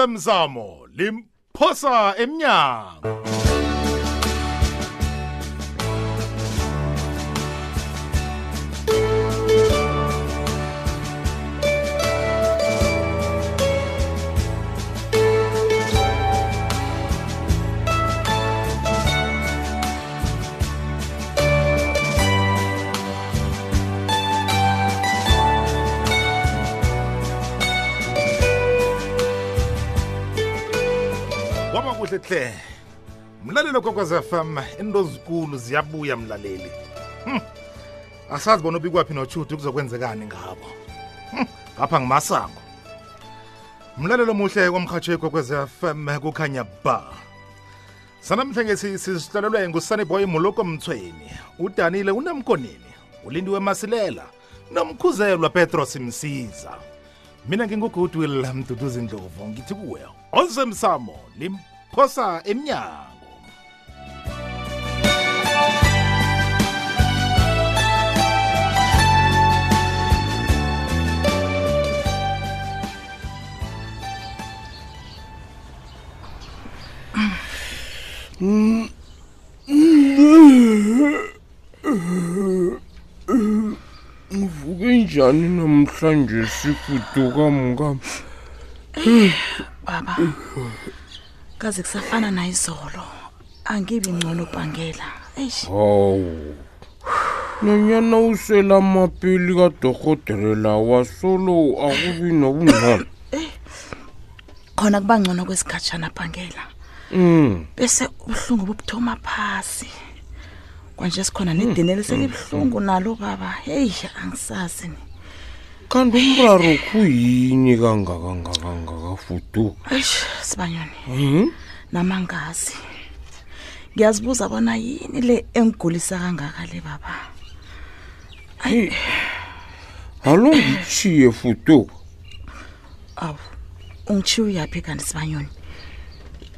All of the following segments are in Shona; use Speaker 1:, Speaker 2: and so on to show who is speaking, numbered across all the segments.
Speaker 1: osemsamo limphosa emnyango kwaba kuhle hle mlalelo kokwaz fm into zikulu ziyabuya mlaleli Hm. asazi bona ubikwaphi nochuti kuzokwenzekani ngabo Hm, ngapha ngimasango mlalelo muhle kwamrhatsho ikwekwez fm kukhanya ba sanamhlanje si- sisihlalelwe ngusaniboy muloko mthweni udanile unemkoneni ulindiwe masilela nomkhuzelwa petros msiza mina ngingugoodwill mduduzi ndlovu ngithi kuwe osemsamo limphosa emnyango
Speaker 2: uvuke njani namhlanje sifuduka mkam
Speaker 3: baba kaze kusafana na izolo angibi ngcono bhangela eish
Speaker 2: hawu nanyana usela amapeli kadorhodere lawa solo akubi nobungcono
Speaker 3: khona kuba ngcono kwesikhatshana bhangela
Speaker 2: Mm,
Speaker 3: bese ubuhlungu bubuthoma phasi kwanje sikhona nedini eliselibuhlungu nalo baba heyi angisazi ni
Speaker 2: kanti umraro khuyini kangakangakangakafuduka
Speaker 3: eish sibanyoni nama ngazi ngiyazibuza bona yini le engigulisa kangaka le baba
Speaker 2: alo ngitshiye fuduka
Speaker 3: awu ungishiye uyaphi kanti sibanyoni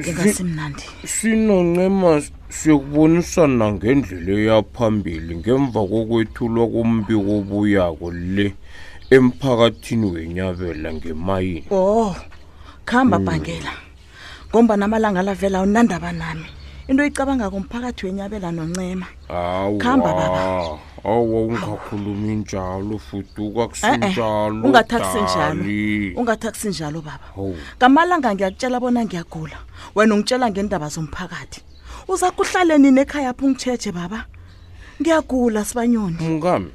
Speaker 3: ngingasimnandi
Speaker 2: sinoncema siyokubonisana ngendlela eyaphambili ngemva kokwethulwa kombiko obuyako le emphakathini wenyabela ngemayini Hmm.
Speaker 3: Oh, khamba bhangela. Ngomba namalanga la vela unandaba nami. Into icabanga komphakathi wenyabela noncema. Khamba, baba.
Speaker 2: awa awa ungakhulumi njalo fuduka kusinjalo
Speaker 3: ungathathi njalo.
Speaker 2: Dali.
Speaker 3: Ungathathi njalo baba.
Speaker 2: Hawu.
Speaker 3: Ngamalanga ngiyakutshela bona ngiyagula. Wena ungitshela ngendaba zomphakathi. Uza kuhlaleni nekhaya phu ngitsheje baba. Ngiyagula sibanyoni.
Speaker 2: mngami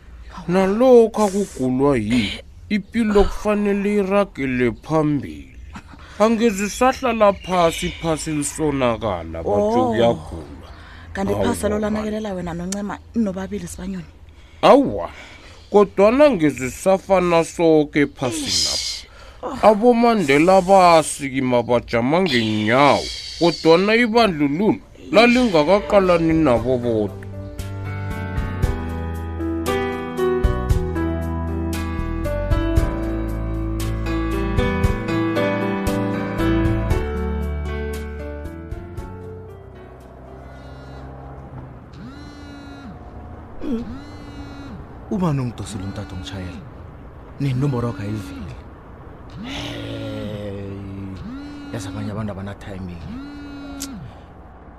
Speaker 2: nalokho akugulwa yini impilo kufanele iragele phambili angezisahlala phasi phasi lisonakala batsho
Speaker 3: Oh.
Speaker 2: kuyagula
Speaker 3: Kanti
Speaker 2: Hawu,
Speaker 3: phasa lo
Speaker 2: baba.
Speaker 3: lanakelela wena noncema nobabili sibanyoni.
Speaker 2: awa kodwana ngizisafana soke phasina abomandela basikima bajama ngenyawo kodwana ibandlululo lalingakaqalani nabo bodwa
Speaker 4: ubani ungidosela umtata ongitshayela nenomboro yakho ayivile yazi abanye abantu abana-timing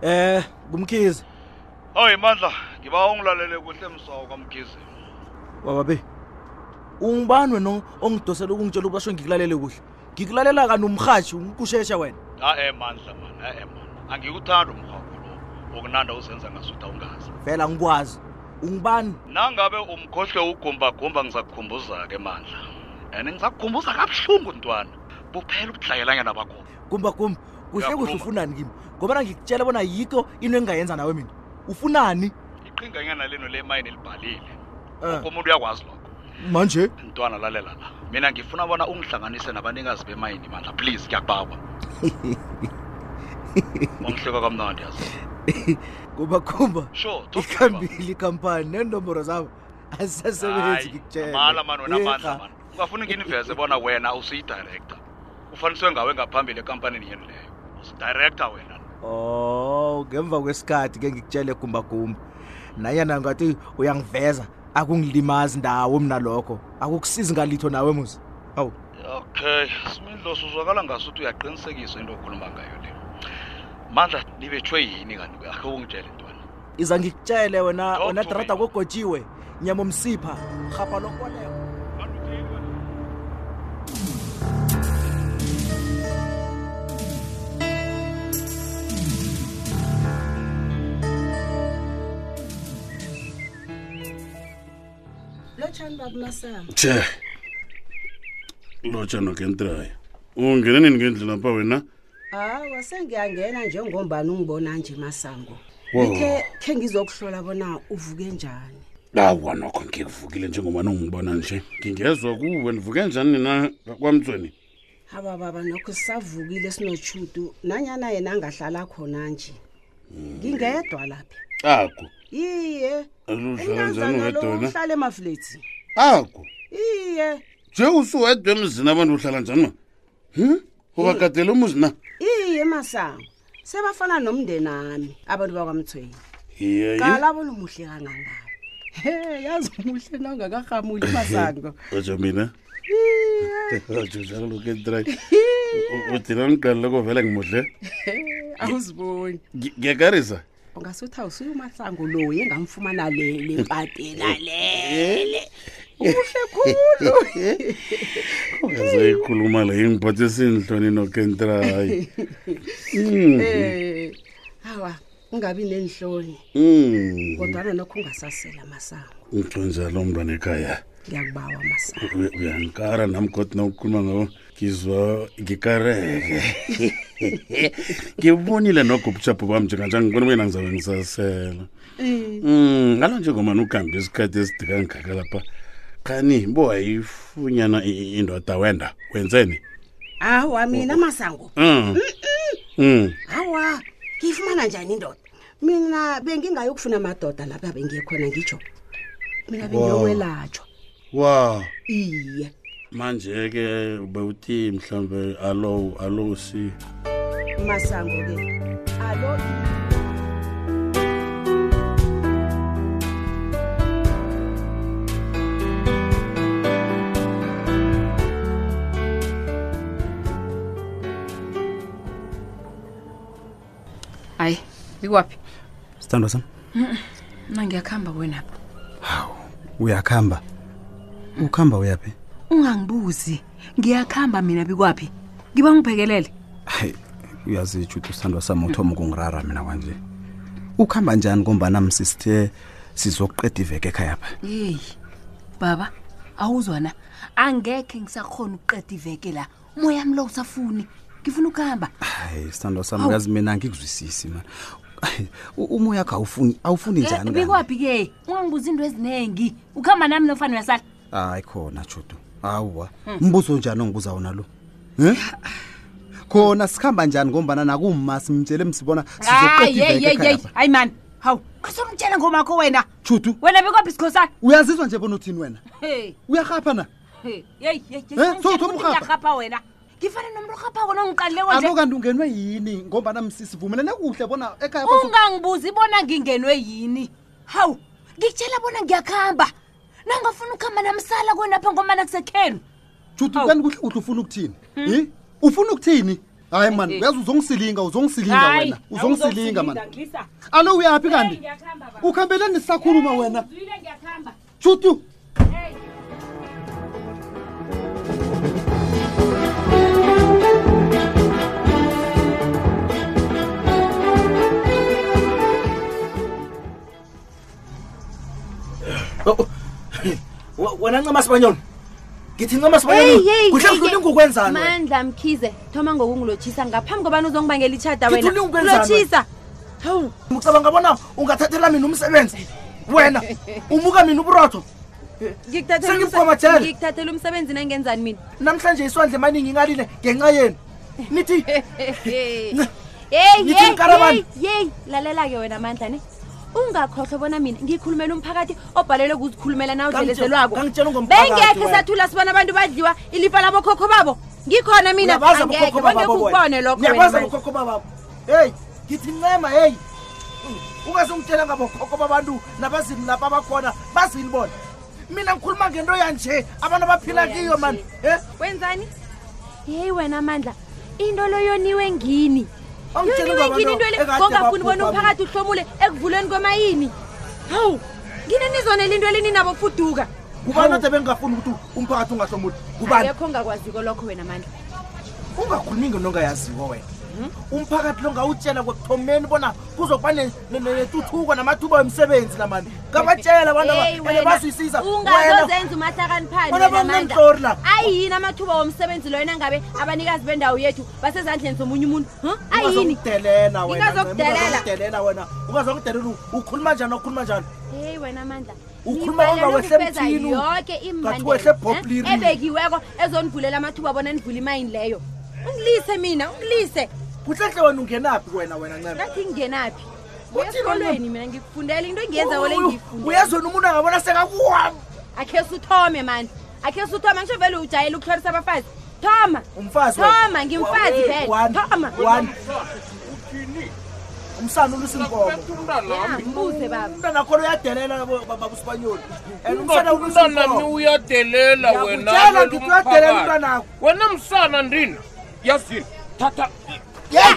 Speaker 4: um ngumkhize
Speaker 5: Oyi mandla, ngiba ungilalele kuhle emsawo kwamgizi.
Speaker 4: wababe ungibani wena ongidosela ukungitshela ukubasho ngikulalele kuhle ngikulalela kanomrhatshi ngikushesha wena
Speaker 5: Ah eh mandla man, ah eh man. Angikuthanda umhawuko lo. Ukunanda uzenza ngasuthi awungazi.
Speaker 4: vela ngikwazi ungibani
Speaker 5: Nangabe umkhohle ugumba gumba ngizakukhumbuza ke mandla. Ene ngizakukhumbuza kabuhlungu ntwana. Buphela ubudlayelanya nabakho.
Speaker 4: kumba kumba kuhle kuhle
Speaker 5: Uyakhuluma.
Speaker 4: ufunani kimi ngobana ngikutshela bona yikho into engingayenza nawe mina ufunani
Speaker 5: Iqhinganyana leno le mine libhalile.
Speaker 4: Eh,
Speaker 5: Umuntu uyakwazi lokho.
Speaker 4: manje
Speaker 5: Ntwana lalela la. Mina ngifuna bona ungihlanganise nabanikazi bemayini mandla please ngiyakubawa. Ungihleka kamnandi yazi.
Speaker 4: kumba kumba
Speaker 5: Sure, talk to me, man.
Speaker 4: ikhambile ikhampani neenomboro zabo azisasebenzi ngikutshela.
Speaker 5: mala mani wena
Speaker 4: Eh,
Speaker 5: mandla
Speaker 4: ha.
Speaker 5: mani ungafuni nginiveze bona wena usuyidirector ufaniswe ngawe ngaphambili enkampanini yeni leyo usidirector wena
Speaker 4: oh ngemva kwesikhathi ke ngikutshele gumbagumba nanyana ngathi uyangiveza akungilimazi ndawo mna lokho akukusizi ngalitho nawe muzi hawu
Speaker 5: okay simidlo suzwakala ngasuthi uyaqinisekisa into okhuluma ngayo le mandla nibethwe yini kanti akhe ungitshele ntwana
Speaker 6: iza ngikutshele wena
Speaker 5: Don't
Speaker 6: wena
Speaker 5: to me.
Speaker 6: drata kogotshiwe nyama msipha rhapa lokoleo
Speaker 3: lotshani babunasana
Speaker 7: tshe lotsha nokentraya ungene nini ngendlela pha wena
Speaker 8: hawa sengiyangena njengombani ungibona nje masango
Speaker 7: Wo.
Speaker 8: ithe khe ngizokuhlola bona uvuke njani
Speaker 7: awa nokho ngikuvukile njengoba nongibona nje ngingezwa kuwe ndivuke njani na kwamtsweni
Speaker 8: haba baba nokho sisavukile sinotshutu nanyana yena angahlala khona nje ngingedwa lapha
Speaker 7: ako
Speaker 8: iye
Speaker 7: uhlala njani
Speaker 8: umnazana lo
Speaker 7: wedwa wena
Speaker 8: uhlala emafleti
Speaker 7: ako
Speaker 8: iye
Speaker 7: nje usuwedwa emzini abantu uhlala njani ma hm ubagadele umuzi na
Speaker 8: iye masango sebafana nomndeni ami abantu bakwamthweni
Speaker 7: yeyeotsha
Speaker 8: qala bona umuhle kangangani he yazi umuhle nangakahamuli masango
Speaker 7: mina otsho njalo lokentraya udina niqalile kovele ngimudle
Speaker 8: He, awuziboni
Speaker 7: Ngi- ngiyakarisa
Speaker 8: ungasuthi awusuye umasango loye engamfumana lele mpatela lele uhle khulu
Speaker 7: azayikhuluma le ingiphathisa iintloni nokentrayi Mm,
Speaker 8: Eh, hawa ungabi nenhloni
Speaker 7: mm.
Speaker 8: kodwana nokho ungasasela masango
Speaker 7: utsho njalo umntwana ekhaya
Speaker 8: ngiyakubawa masango
Speaker 7: Uya- uyankara nam kodwa na ukhuluma ngabo ngizwa ngikareke ngibonile nogobutshapho bam njenganje ngibona buyena ngizawube ngisasela Mm, ngalo njengomani ukuhambe isikhathi eside kangaka lapha qani bowayifunyana i- i- indoda wenda wenzeni
Speaker 8: awa mina Hmm. masango
Speaker 7: Mm. Mm.
Speaker 8: hawa ngiyifumana njani indoda mina bengingayokufuna amadoda lapha bengiye khona ngitsho mina bengiyowelatshwa
Speaker 7: wow
Speaker 8: iye
Speaker 7: manje ke bewuthi mhlawumbe alo alo si
Speaker 8: masango ke alo
Speaker 9: hayi ikwaphi
Speaker 6: sithandwa sam
Speaker 9: mna ngiyakuhamba wenapha
Speaker 6: uyakuhamba ukuhamba uyaphi
Speaker 9: ungangibuzi ngiyakuhamba mina bikwaphi ngiba ngiphekelele
Speaker 6: hayi uyazi jude usithandwa sam uthoma ukungirara mina kwanje ukuhamba njani ngombana msisithe sizokuqeda iveke ekhaya pha
Speaker 9: yeyi baba awuzwana angekhe ngisakhona ukuqeda iveke la umoya mlo usafuni ngifuna ukuhamba
Speaker 6: hayi sithandwa sam
Speaker 9: Hawu.
Speaker 6: uyazi mina angikuzwisisi mani Hayi, u- umoya wakho awufuni awufuni
Speaker 9: Eh,
Speaker 6: njani kangaka?
Speaker 9: bikwaphi ke ungangibuza into eziningi ukuhamba nami nofana uyasala
Speaker 6: hayi khona jude awuwa
Speaker 9: Hmm.
Speaker 6: mbuzo njani ongibuza wona lo He?
Speaker 9: Ah.
Speaker 6: khona sikhamba njani ngombana nakumma simtshele msibona
Speaker 9: hayi yeyi yeyi yeyi
Speaker 6: sizoqedajudu
Speaker 9: hayi mani hawu asomtshela ngomakho wena wena bikwaphi sikhosana
Speaker 6: uyazizwa nje bona uthini wena
Speaker 9: hey
Speaker 6: uyarhapha na
Speaker 9: hey yeyi yeyi
Speaker 6: Eh, so uthoma ukurhapha?
Speaker 9: ngiyarhapha wena ngifane nomntu orhaphako nongiqalileko nje
Speaker 6: alo kanti ungenwe yini ngombana msisivumelene kuhle bona ekhaya bazo-
Speaker 9: ungangibuzi bona ngingenwe yini hawu ngitshela bona ngiyakuhamba nangafuna ukuhamba namsala kwenapha ngomana kusekhenu
Speaker 6: judu
Speaker 9: Hawu.
Speaker 6: kanti kuhle kuhle ufuna ukuthini Hi? ufuna ukuthini hayi mani
Speaker 9: Hmm? Eh, eh.
Speaker 6: uyazi uzongisilinga uzongisilinga wena uzongisilinga mani alo uyaphi kanti ukhambelani sisakhuluma wena judu
Speaker 4: Oh, wena ncema sibanyoni ngithi ncema
Speaker 10: Hey, hey, hey, hey.
Speaker 4: ngokwenzana wena.
Speaker 10: mandla mkhize thoma ngokungilotshisa ngaphambi kobani uzongibangela itshada wena
Speaker 4: Ngithule ukwenzani
Speaker 10: Ngilotjhisa. hawu
Speaker 4: ucabanga bona ungathathela mina umsebenzi wena umuka mina uburotho
Speaker 10: ngikuthathela
Speaker 4: Sengimgwamajele.
Speaker 10: umse- ngikuthathela umsebenzi nangenzani mina
Speaker 4: namhlanje iswandle mani ngingalile ngenxa yenu nithi
Speaker 10: hey
Speaker 4: Ngithi nkarabani.
Speaker 10: yeyi lalela-ke wena mandla ne ungakhohlwa bona mina ngikhulumela umphakathi obhalelwe kuzikhulumela nawo
Speaker 4: Kangitjela-
Speaker 10: dlelezelwako
Speaker 4: kangitjela ngomphakathi
Speaker 10: bengekhe
Speaker 4: wena.
Speaker 10: sathula sibona abantu badliwa ilifa labokhokho babo ngikhona mina
Speaker 4: Uyabazi
Speaker 10: angeke
Speaker 4: abokhokho
Speaker 10: bangeke
Speaker 4: bababo wena.
Speaker 10: ukubone lokho
Speaker 4: Uyabazi
Speaker 10: wena mandla.
Speaker 4: abokhokho bababo heyi ngithi Mm, ncema heyi ungazongitshela ngabokhokho babantu nabazini lapha abakhona bazini bona mina ngikhuluma ngento yanje abantu abaphila kiyo mani um
Speaker 10: wenzani yeyi wena mandla into loyoniwe ngini
Speaker 4: Ungitjele
Speaker 10: yoniwe
Speaker 4: ngabantu
Speaker 10: ngini into le
Speaker 4: ekade
Speaker 10: ngongafuni
Speaker 4: babhubha
Speaker 10: bona umphakathi uhlomule ekuvulweni kwemayini hawu ngine nizonela into elinabo fuduka
Speaker 4: kubani ade bengingafuni ukuthi umphakathi ungahlomuli kubani
Speaker 10: akekho ongakwaziko lokho wena mandla
Speaker 4: ungakhulumi ngento ongayaziwo wena umphakathi lo ngawutshela kwekuthomeni bona kuzokuba ne- ne- ne- netuthuko namathuba wemisebenzi namani ngabatshela abantu aba-
Speaker 10: Hey,
Speaker 4: ene
Speaker 10: wena,
Speaker 4: bazisiza
Speaker 10: ungazozenza umahlakaniphani
Speaker 4: Wena
Speaker 10: wena
Speaker 4: bona
Speaker 10: Mandla.
Speaker 4: ngitlori la.
Speaker 10: ayini amathuba womsebenzi loyo nangabe abanikazi bendawo yethu basezandleni zomunye umuntu Huh? ayini
Speaker 4: ungazokudelela
Speaker 10: Ngingazokudelela.
Speaker 4: wenaungazokudelela wena ungazokudelela ukhuluma njani okhuluma njani
Speaker 10: heyi wena mandla
Speaker 4: Ukhuluma
Speaker 10: Nibhalelwe
Speaker 4: ungawehle
Speaker 10: ukufeza
Speaker 4: emthini,
Speaker 10: yoke
Speaker 4: ngathi wehle
Speaker 10: imbandela,
Speaker 4: ebhobhlirini.
Speaker 10: eh, ebekiweko ezonivulela amathuba bona nivule imayini leyo ungilise mina ungilise
Speaker 4: kuhlehle wena ungenaphi wena wena ncema
Speaker 10: nathi ngingenaphi
Speaker 4: Uthini
Speaker 10: esikolweni mina ngikufundela into engiyenzako le
Speaker 4: Uyu- uyazona umuntu angabona sekakuwam
Speaker 10: akhe suthome mandla akhe suthoma ngisho vele ujayele ukuhlorisa abafazi thoma
Speaker 4: umfazi wena.
Speaker 10: thoma ngimfazi
Speaker 4: Wa-
Speaker 10: vele
Speaker 4: one,
Speaker 10: thoma
Speaker 4: one. umsana ulusinkomo
Speaker 10: Ya, mbuze baba
Speaker 4: umntana khona uyadelela bo- baba usibanyoni and umsana
Speaker 2: ungatunanami
Speaker 4: ulusinkomo
Speaker 2: uyadelela wena
Speaker 4: Ngiyakutjela
Speaker 2: lolu
Speaker 4: ngithi uyadelela
Speaker 2: mphakathi.
Speaker 4: umntwanakho.
Speaker 2: wena msana ndina yazini thatha
Speaker 4: ye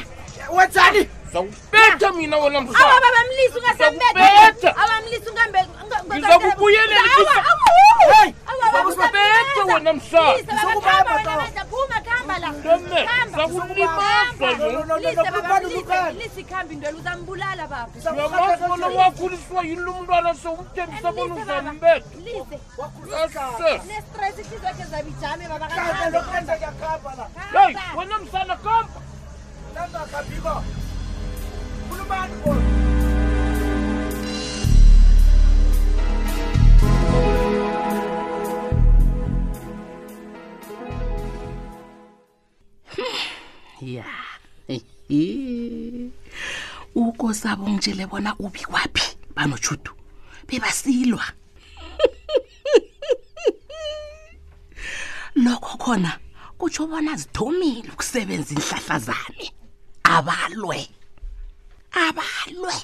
Speaker 4: wenzani
Speaker 2: zawubetha mina wena
Speaker 10: awa
Speaker 2: msana
Speaker 10: babamlisi
Speaker 2: Ngizakubetha.
Speaker 10: ungasambetha awamlisi
Speaker 2: Ngizakubuyelela
Speaker 10: Hey!
Speaker 2: zawubetha wena msana
Speaker 10: phuma khamba la
Speaker 2: Ndome,
Speaker 10: Khamba.
Speaker 2: zakulimaza
Speaker 10: Khamba.
Speaker 2: yo.
Speaker 10: Lise, baba,
Speaker 4: Kukhani,
Speaker 10: lise,
Speaker 4: kukhani.
Speaker 10: lise ikhambi indwela uzambulala baba
Speaker 2: uyamazi bona wakhuliswa yini lo mntwana sewumthembisa bona
Speaker 10: Lise, baba.
Speaker 2: uzambetha
Speaker 10: lise
Speaker 2: yase
Speaker 10: nestress ihlizwakhe zabijame baba
Speaker 4: Kanti
Speaker 10: kakhamba.
Speaker 4: lokwenza ngiyakhamba la
Speaker 2: yeyi
Speaker 10: Khamba.
Speaker 2: wena msana kamba
Speaker 4: nangakhabiko kulumani bona
Speaker 9: ya ukosabo ngitshele bona ubi kwaphi banojudu bebasilwa lokho khona kutsho bona zithomile ukusebenza inhlahla zami abalwe abalwe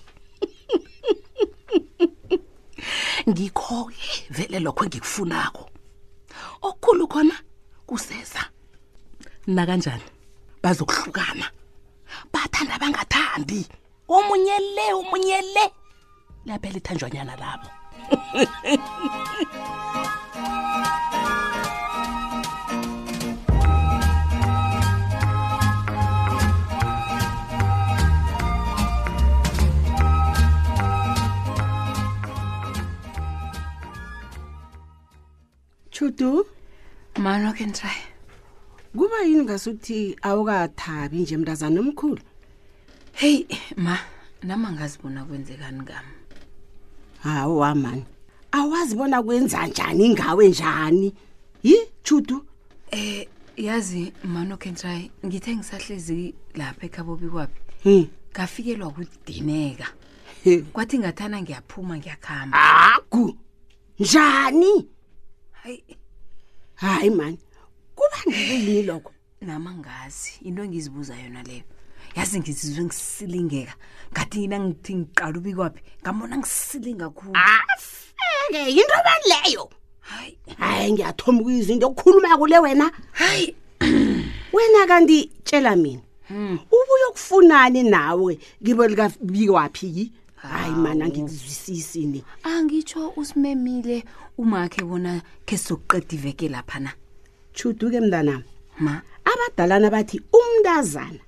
Speaker 9: ngikho-ke vele lokho engikufunako okukhulu khona kuseza nakanjani bazokuhlukana bathanda bangathandi omunye le omunye le laphela ithanjwanyana labo
Speaker 8: chudu
Speaker 9: mano ke ntray
Speaker 8: kuba yini ngasuthi awukathabi nje mntazana omkhulu
Speaker 9: heyi ma nama ngazibona kwenzekani ngami
Speaker 8: hawa mani awazi bona kwenza njani ngawe njani yi chudu
Speaker 9: eh yazi mano ke ntray ngithe ngisahlezi lapha ekhabobi kwabi
Speaker 8: Hmm.
Speaker 9: ngafikelwa kudineka
Speaker 8: He.
Speaker 9: kwathi ngathana ngiyaphuma ngiyakuhamba
Speaker 8: hagu njani
Speaker 9: hayi
Speaker 8: hayi mani kuba ngikuyini lokho
Speaker 9: nama ngazi into engizibuza yona leyo yazi ngizizwe ngisilingeka ngathi nangithi ngiqala ubikwaphi ngambona ngisilinga khulu
Speaker 8: afeke yinto bani leyo
Speaker 9: hayi
Speaker 8: hayi ngiyathoma ukuyizwa into okukhuluma kule wena
Speaker 9: hayi
Speaker 8: wena kanti tshela mina ubuye ukufunani nawe ngibo likabikwaphi yi hayi mani angizwisisi ni
Speaker 9: angitsho usimemile umakhe bona khe sokuqeda iveke laphana
Speaker 8: chuduke mntanami
Speaker 9: ma
Speaker 8: abadalana bathi umntazana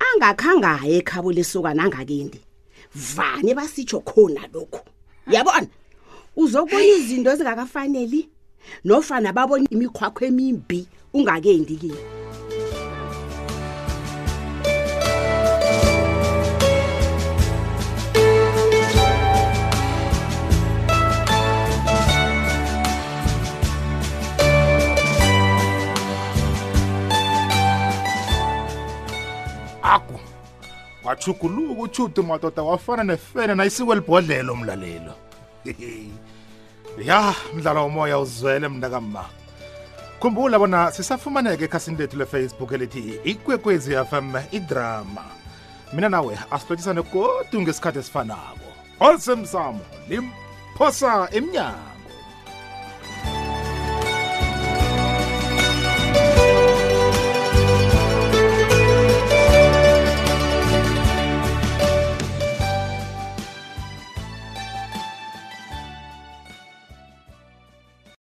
Speaker 8: angakhanga aye ekhabo lesokana angakendi vane basitsho khona lokhu yabona uzobona izinto ezingakafaneli nofana babona imikhwakho emimbi ungakendi kini
Speaker 1: aku wachuguluka utshuti madoda wafana nefene nayisiko elibhodlelo mlalelo ya mdlalo womoya uzwele mna kamma khumbula bona sisafumaneka ekhasini lethu lefacebook elithi ikwekwezi fm idrama mina nawe asihlotshisane kodwa ngesikhathi esifanako olisemsamo limphosa emnyango